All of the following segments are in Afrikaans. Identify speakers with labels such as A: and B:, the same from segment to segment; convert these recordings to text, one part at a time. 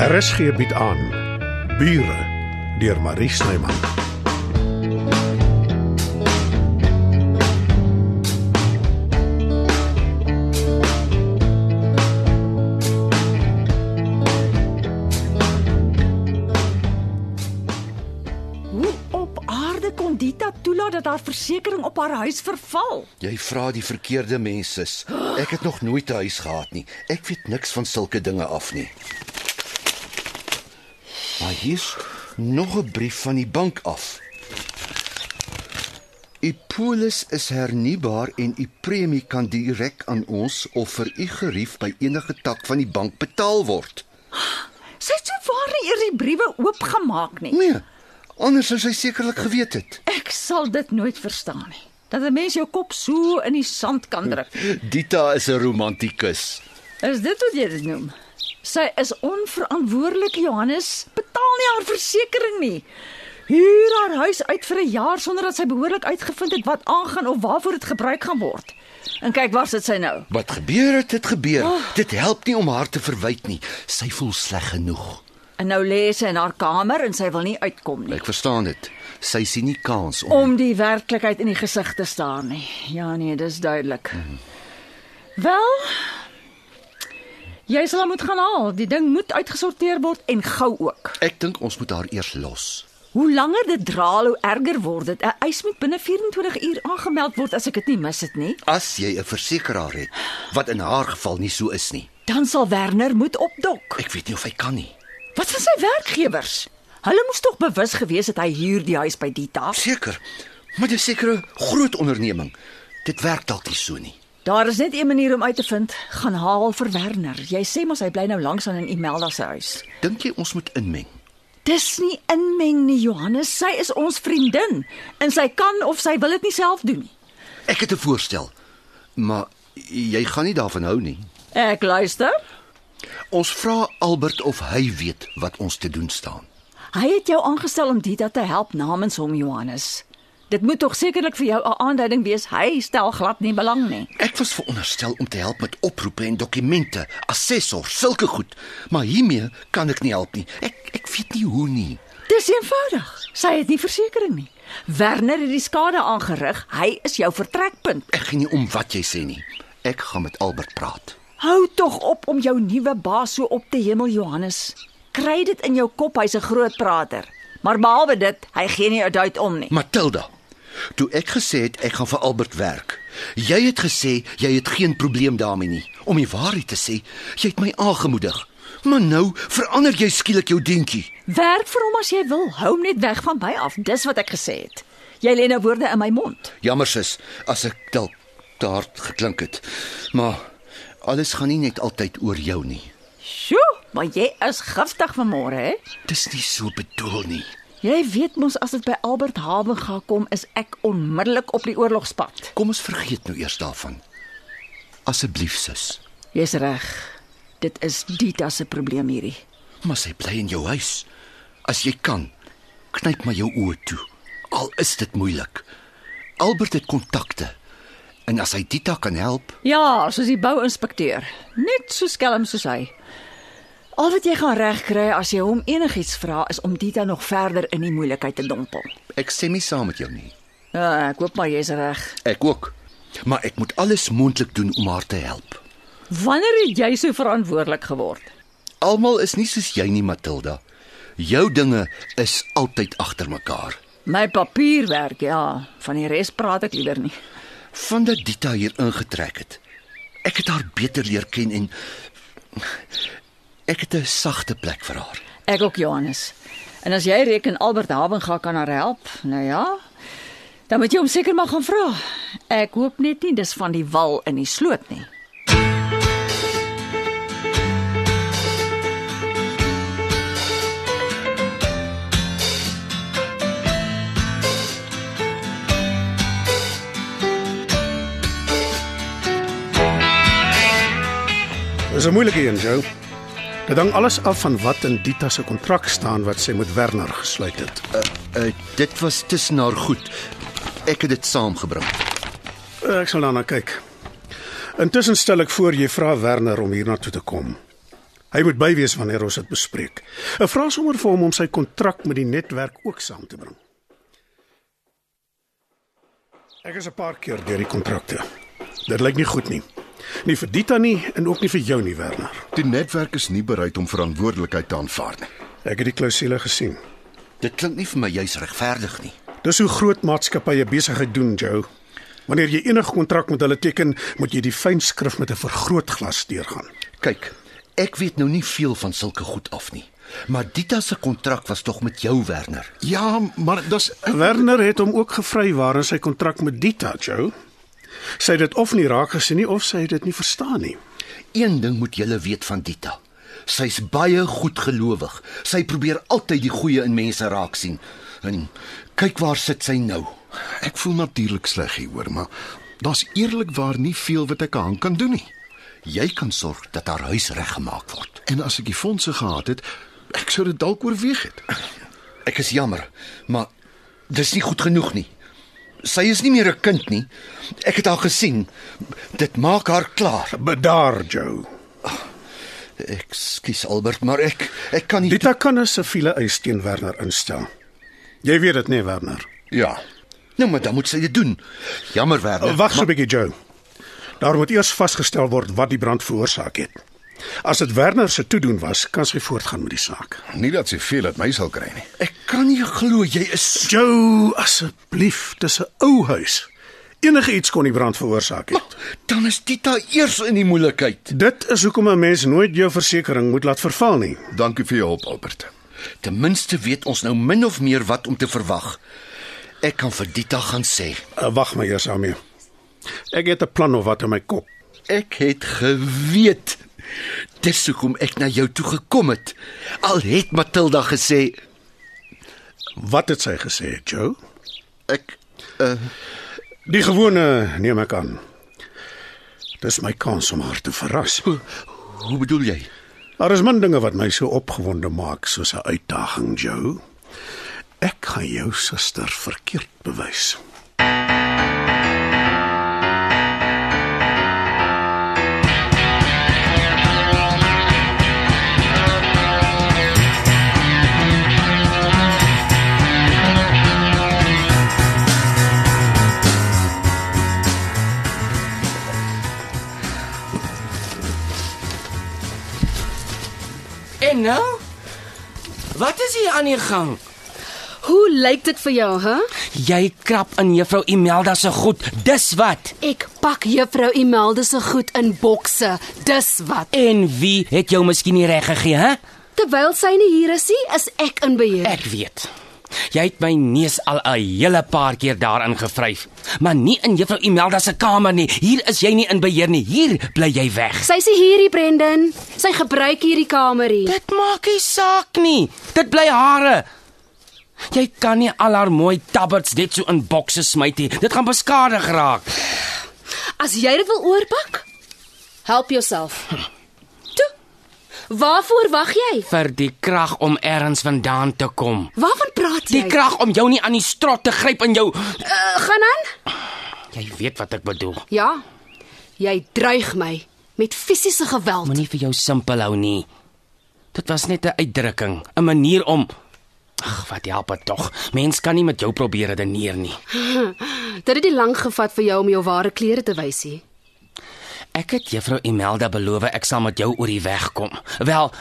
A: RSG bied aan Bure deur Marie Snyman.
B: Hoe op aarde kon Dita toelaat dat haar versekering op haar huis verval?
C: Jy vra die verkeerde mense. Ek het nog nooit 'n huis gehad nie. Ek weet niks van sulke dinge af nie. Maar hier's nog 'n brief van die bank af. U polis is hernubaar en u premie kan direk aan ons of vir u gerief by enige tak van die bank betaal word.
B: Sy het sowaar nie eers die briewe oopgemaak nie.
C: Nee, anders sou sy sekerlik geweet het.
B: Ek sal dit nooit verstaan nie. Dat 'n mens jou kop so in die sand kan druk.
C: Dita is 'n romantikus.
B: Is dit wat jy dit noem? Sy is onverantwoordelik, Johannes. Betaal nie haar versekering nie. Huur haar huis uit vir 'n jaar sonder dat sy behoorlik uitgevind het wat aangaan of waarvoor dit gebruik gaan word. En kyk waar sit sy nou.
C: Wat gebeur het, dit gebeur. Oh. Dit help nie om haar te verwyd nie. Sy voel sleg genoeg.
B: En nou lê sy in haar kamer en sy wil nie uitkom nie.
C: Ek verstaan dit. Sy sien nie kans om,
B: om die werklikheid in die gesig te staar nie. Ja nee, dis duidelik. Wel, jy sal hom moet gaan haal. Die ding moet uitgesorteer word en gou ook.
C: Ek dink ons moet haar eers los.
B: Hoe langer dit draal, hoe erger word dit. 'n Eis moet binne 24 uur aangemeld word as ek dit nie mis het nie.
C: As jy 'n versekeraar het wat in haar geval nie so is nie.
B: Dan sal Werner moet opdok.
C: Ek weet nie of hy kan nie.
B: Wat van sy werkgewers? Hulle moes tog bewus gewees het hy huur die huis by Dita.
C: Seker. Maar dis seker 'n groot onderneming. Dit werk dalk nie so nie.
B: Daar is net een manier om uit te vind. Gaan haal vir Werner. Jy sê mos hy bly nou langs aan in Imelda se huis.
C: Dink jy ons moet inmeng?
B: Dis nie inmeng nie, Johannes. Sy is ons vriendin en sy kan of sy wil dit nie self doen nie.
C: Ek het 'n voorstel. Maar jy gaan nie daarvan hou nie.
B: Ek luister.
C: Ons vra Albert of hy weet wat ons te doen staan.
B: Hy het jou aangestel om Dita te help namens hom, Johannes. Dit moet tog sekerlik vir jou 'n aanduiding wees hy stel glad nie belang nie.
C: Ek was veronderstel om te help met oproepe en dokumente, assessor, sulke goed, maar hiermee kan ek nie help nie. Ek ek weet nie hoe nie.
B: Dis eenvoudig. Sy het nie versekerings nie. Werner het die skade aangerig. Hy is jou vertrekpunt.
C: Ek gee nie om wat jy sê nie. Ek gaan met Albert praat.
B: Hou tog op om jou nuwe baas so op te hemel, Johannes. Kry dit in jou kop, hy's 'n groot prater. Maar behalwe dit, hy gee nie 'n duit om nie.
C: Matilda, toe ek gesê het ek gaan vir Albert werk, jy het gesê jy het geen probleem daarmee nie. Om die waarheid te sê, jy het my aangemoedig. Maar nou verander jy skielik jou dingetjie.
B: Werk vir hom as jy wil. Hou hom net weg van my af. Dis wat ek gesê het. Jy lê nou woorde in my mond.
C: Jammer sis, as ek dalk te hard geklink het. Maar alles gaan nie net altyd oor jou nie.
B: Sjoe, maar jy is giftig vanmôre, hè?
C: Dis nie so bedoel nie.
B: Jy weet mos as dit by Albert Hawe gaan kom, is ek onmiddellik op die oorlogspad.
C: Kom ons vergeet nou eers daarvan. Asseblief sis,
B: Jy's reg. Dit is Dita se probleem hierdie.
C: maar sy bly in jou huis. As jy kan, knyp maar jou oë toe. Al is dit moeilik. Albert het kontakte. En as hy Dita kan help,
B: Ja, soos die bouinspekteur, net so skelm soos hy. Al wat jy gaan regkry as jy hom enigiets vra, is om Dita nog verder in die moeilikheid te dompel.
C: ek stem nie saam met jou nie.
B: Ja, ek hoop maar jy's reg.
C: Ek ook. Maar ek moet alles moontlik doen om haar te help.
B: Wanneer het jy so verantwoordelik geword?
C: Almal is nie soos jy nie, Matilda. Jou dinge is altyd agter mekaar.
B: My papierwerk, ja, van die res praat ek liewer nie.
C: Vandat Dita hier ingetrek het, ek het haar beter leer ken en ek het 'n sagte plek vir haar.
B: Ek ook Johannes. En as jy reken Albert Habenga kan haar help, nou ja, dan moet jy hom seker maar gaan vra. Ek hoop net nie dis van die wal in die sloot nie.
A: Dis 'n moeilike een, Jou. Dit hang alles af van wat in Dita se kontrak staan wat sy met Werner gesluit het.
C: Uh, dit was tussen haar goed. Ek het dit saamgebring.
A: Eh, Ek sal daarna kyk. Intussen stel ek voor jy vra Werner om hiernatoe te kom. Hy moet by wees wanneer ons dit bespreek. Ek vra sommer vir hom om sy kontrak met die netwerk ook saam te bring. Ek is 'n paar keer deur die kontrakte. Dit lyk nie goed nie. Nie vir Dita nie en ook nie vir jou nie, Werner.
D: Die netwerk is nie bereid om verantwoordelikheid te aanvaar nie.
A: Ek het die klousule gesien.
C: Dit klink nie vir my juis regverdig nie.
A: Dis hoe groot maatskappye besigheid doen, Joe. Wanneer jy enige kontrak met hulle teken, moet jy die fynskrif met 'n vergrootglas deurgaan.
C: Kyk, ek weet nou nie veel van sulke goed af nie. Maar Dita se kontrak was tog met jou Werner.
D: Ja, maar dis
A: Werner het hom ook gevrywaar in sy kontrak met Dita, Joe. Sy het dit of nie raak gesien nie of sy het dit nie verstaan nie.
C: Een ding moet julle weet van Dita. Sy's baie goedgelowig. Sy probeer altyd die goeie in mense raak sien. En kyk waar sit sy nou.
D: ek voel natuurlik sleg hieroor, maar daar's eerlikwaar nie veel wat ek aan kan doen nie.
C: Jy kan sorg dat haar huis reggemaak word.
D: En as ek die fondse gehad het, ek sou dit dalk oorweeg het.
C: Ek is jammer, maar dis nie goed genoeg nie. Sy is nie meer 'n kind nie. Ek het haar gesien. Dit maak haar klaar.
A: Bedaar, Joe.
C: Ek skuis Albert, maar ek ek kan nie
A: Dita kan 'n siviele eis teen Werner instel. Jy weet dit nie, Werner.
D: Ja.
C: Nou maar dan moet sy dit doen. Jammer Werner.
A: Wag so 'n bietjie, Joe. Daar moet eers vasgestel word wat die brand veroorsaak het. As dit Werner se toedoen was, kan sy voortgaan met die saak.
D: Nie dat sy veel uit my sal kry nie.
C: Ek kan nie glo jy is
A: Joe, asseblief, dis 'n ou huis. Enige iets kon die brand veroorsaak het.
C: Dan is Tita eers in die moeilikheid.
A: Dit is hoekom 'n mens nooit jou versekerings moet laat verval nie.
D: Dankie vir jou hulp, Albert.
C: Ten minste weet ons nou min of meer wat om te verwag. Ek kan vir Dita gaan sê,
A: Uh, Wag maar eers daarmee. Ek het 'n plan of wat in my kop.
C: ek het geweet. Dis hoekom ek na jou toe gekom het. Al het Matilda gesê
A: Wat het sy gesê, Joe?
C: ek
A: Die gewone neem ek aan. Dis my kans om haar te verras.
C: Hoe bedoel jy?
A: Daar is min dinge wat my so opgewonde maak soos 'n uitdaging, Joe. Ek gaan jou suster verkeerd bewys.
E: En nou? Wat is hier aan die gang?
F: Hoe lyk dit vir jou, hè?
E: Jy krap in juffrou Imelda se goed. Dis wat.
F: Ek pak juffrou Imelda se goed in bokse. Dis wat.
E: En wie het jou miskien nie reg gegee, hè?
F: Terwyl sy nie hier is nie, is ek in beheer.
E: Ek weet. Jy het my neus al 'n hele paar keer daarin gevryf, maar nie in juffrou Imelda se kamer nie. Hier is jy nie in beheer nie. Hier bly jy weg.
F: Sy sê hierdie Brendan, sy gebruik hierdie kamer hier.
E: Dit maak nie saak nie. Dit bly hare. Jy kan nie al haar mooi tabberts net so in bokse smyt nie. Dit gaan beskadig raak.
F: As jy dit wil oorpak, help jouself. Toe. Waarvoor wag jy?
E: Vir die krag om ergens vandaan te kom.
F: Waarvan praat jy?
E: Die krag om jou nie aan die strot te gryp in jou.
F: uh, gaan aan?
E: Jy weet wat ek bedoel.
F: Ja. Jy dreig my met fisiese geweld.
E: Moenie vir jou simpel hou nie. Dit was net 'n uitdrukking, 'n manier om Ag, wat help dit tog? Mens kan nie met jou probeer redeneer nie.
F: Dit het nie lank gevat vir jou om jou ware klere te wys nie.
E: Ek het juffrou Imelda beloof ek sal met jou oor die weg kom. Wel,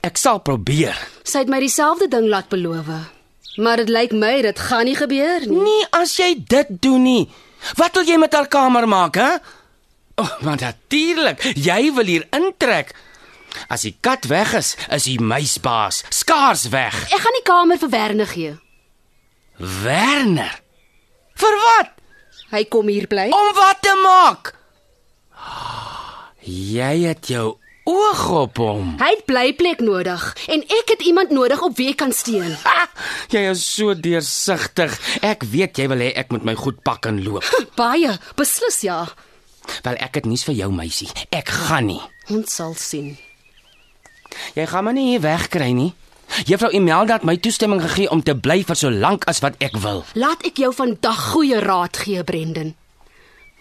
E: ek sal probeer.
F: Sy het my dieselfde ding laat beloof. Maar dit lyk my dit gaan nie gebeur nie.
E: Nee, as jy dit doen nie. Wat wil jy met haar kamer maak, hè? O, oh, maar natuurlik, jy wil hier intrek. As die kat weg is, is die muisbaas skaars weg.
F: Ek gaan die kamer vir Werner gee.
E: Werner. Vir wat?
F: Hy kom hier bly.
E: Om wat te maak? Jy het jou oog op hom.
F: Hy het blyplek nodig en ek het iemand nodig op wie ek kan steun.
E: Ah, jy is so deursigtig. Ek weet jy wil hê ek moet my goed pak en loop.
F: Baie, beslis ja.
E: Wel, ek het nuus vir jou, meisie. Ek gaan nie.
F: Ons sal sien.
E: Jy gaan my nie hier wegkry nie. Juffrou Imelda het my toestemming gegee om te bly vir so lank as wat ek wil.
F: Laat ek jou vandag goeie raad gee, Brendan.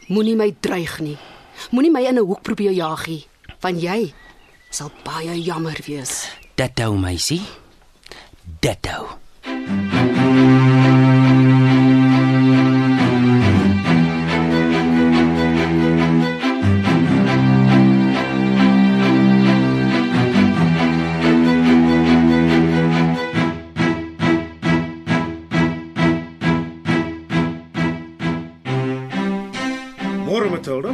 F: Moenie my dreig nie. Moenie my in 'n hoek probeer jaag nie, want jy sal baie jammer wees.
E: Ditto meisie. Ditto.
A: Môre Matilda.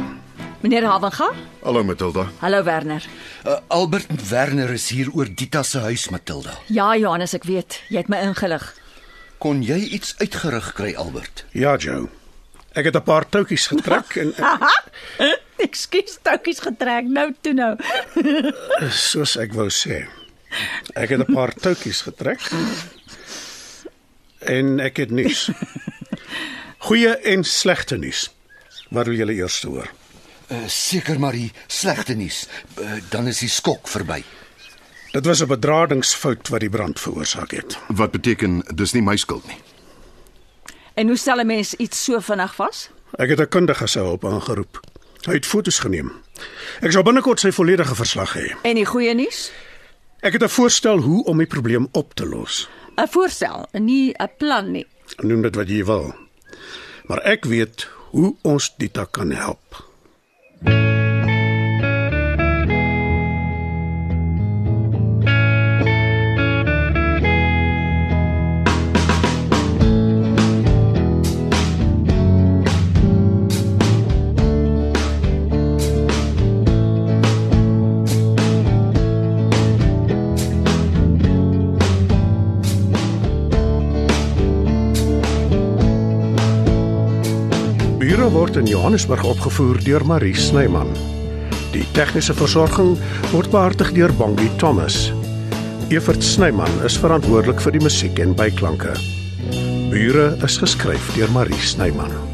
B: Meneer Havenga?
D: Hallo Matilda.
B: Hallo Werner.
C: Uh, Albert Werner is hier oor Dita se huis, Matilda.
B: Ja, Johannes, ek weet, jy het my ingelig.
C: Kon jy iets uitgerig kry, Albert?
A: Ja, Joe. Ek het 'n paar toutjies getrek en
B: Ekskuus, toutjies getrek nou toe nou.
A: soos ek wou sê. Ek het 'n paar toutjies getrek. En ek het nuus. Goeie en slegte nuus. Wat wil julle eers hoor?
C: Uh, Seker maar die slegte nuus. Uh, dan is die skok verby.
A: Dit was 'n bedradingsfout wat die brand veroorsaak het.
D: Wat beteken dis nie my skuld nie.
B: En hoe stel 'n mens iets so vinnig vas?
A: Ek het 'n kundige se hulp aangeroep. Hy het fotos geneem. Ek sal binnekort sy volledige verslag hê.
B: En die goeie nuus?
A: Ek het 'n voorstel hoe om die probleem op te los.
B: 'n Voorstel, nie 'n plan nie.
A: Noem dit wat jy wil. Maar ek weet hoe ons Dita kan help. Bure word in Johannesburg opgevoer deur Marie Snyman. Die tegniese versorging word behartig deur Bongie Thomas. Evert Snyman is verantwoordelik vir die musiek en byklanke. Bure is geskryf deur Marie Snyman.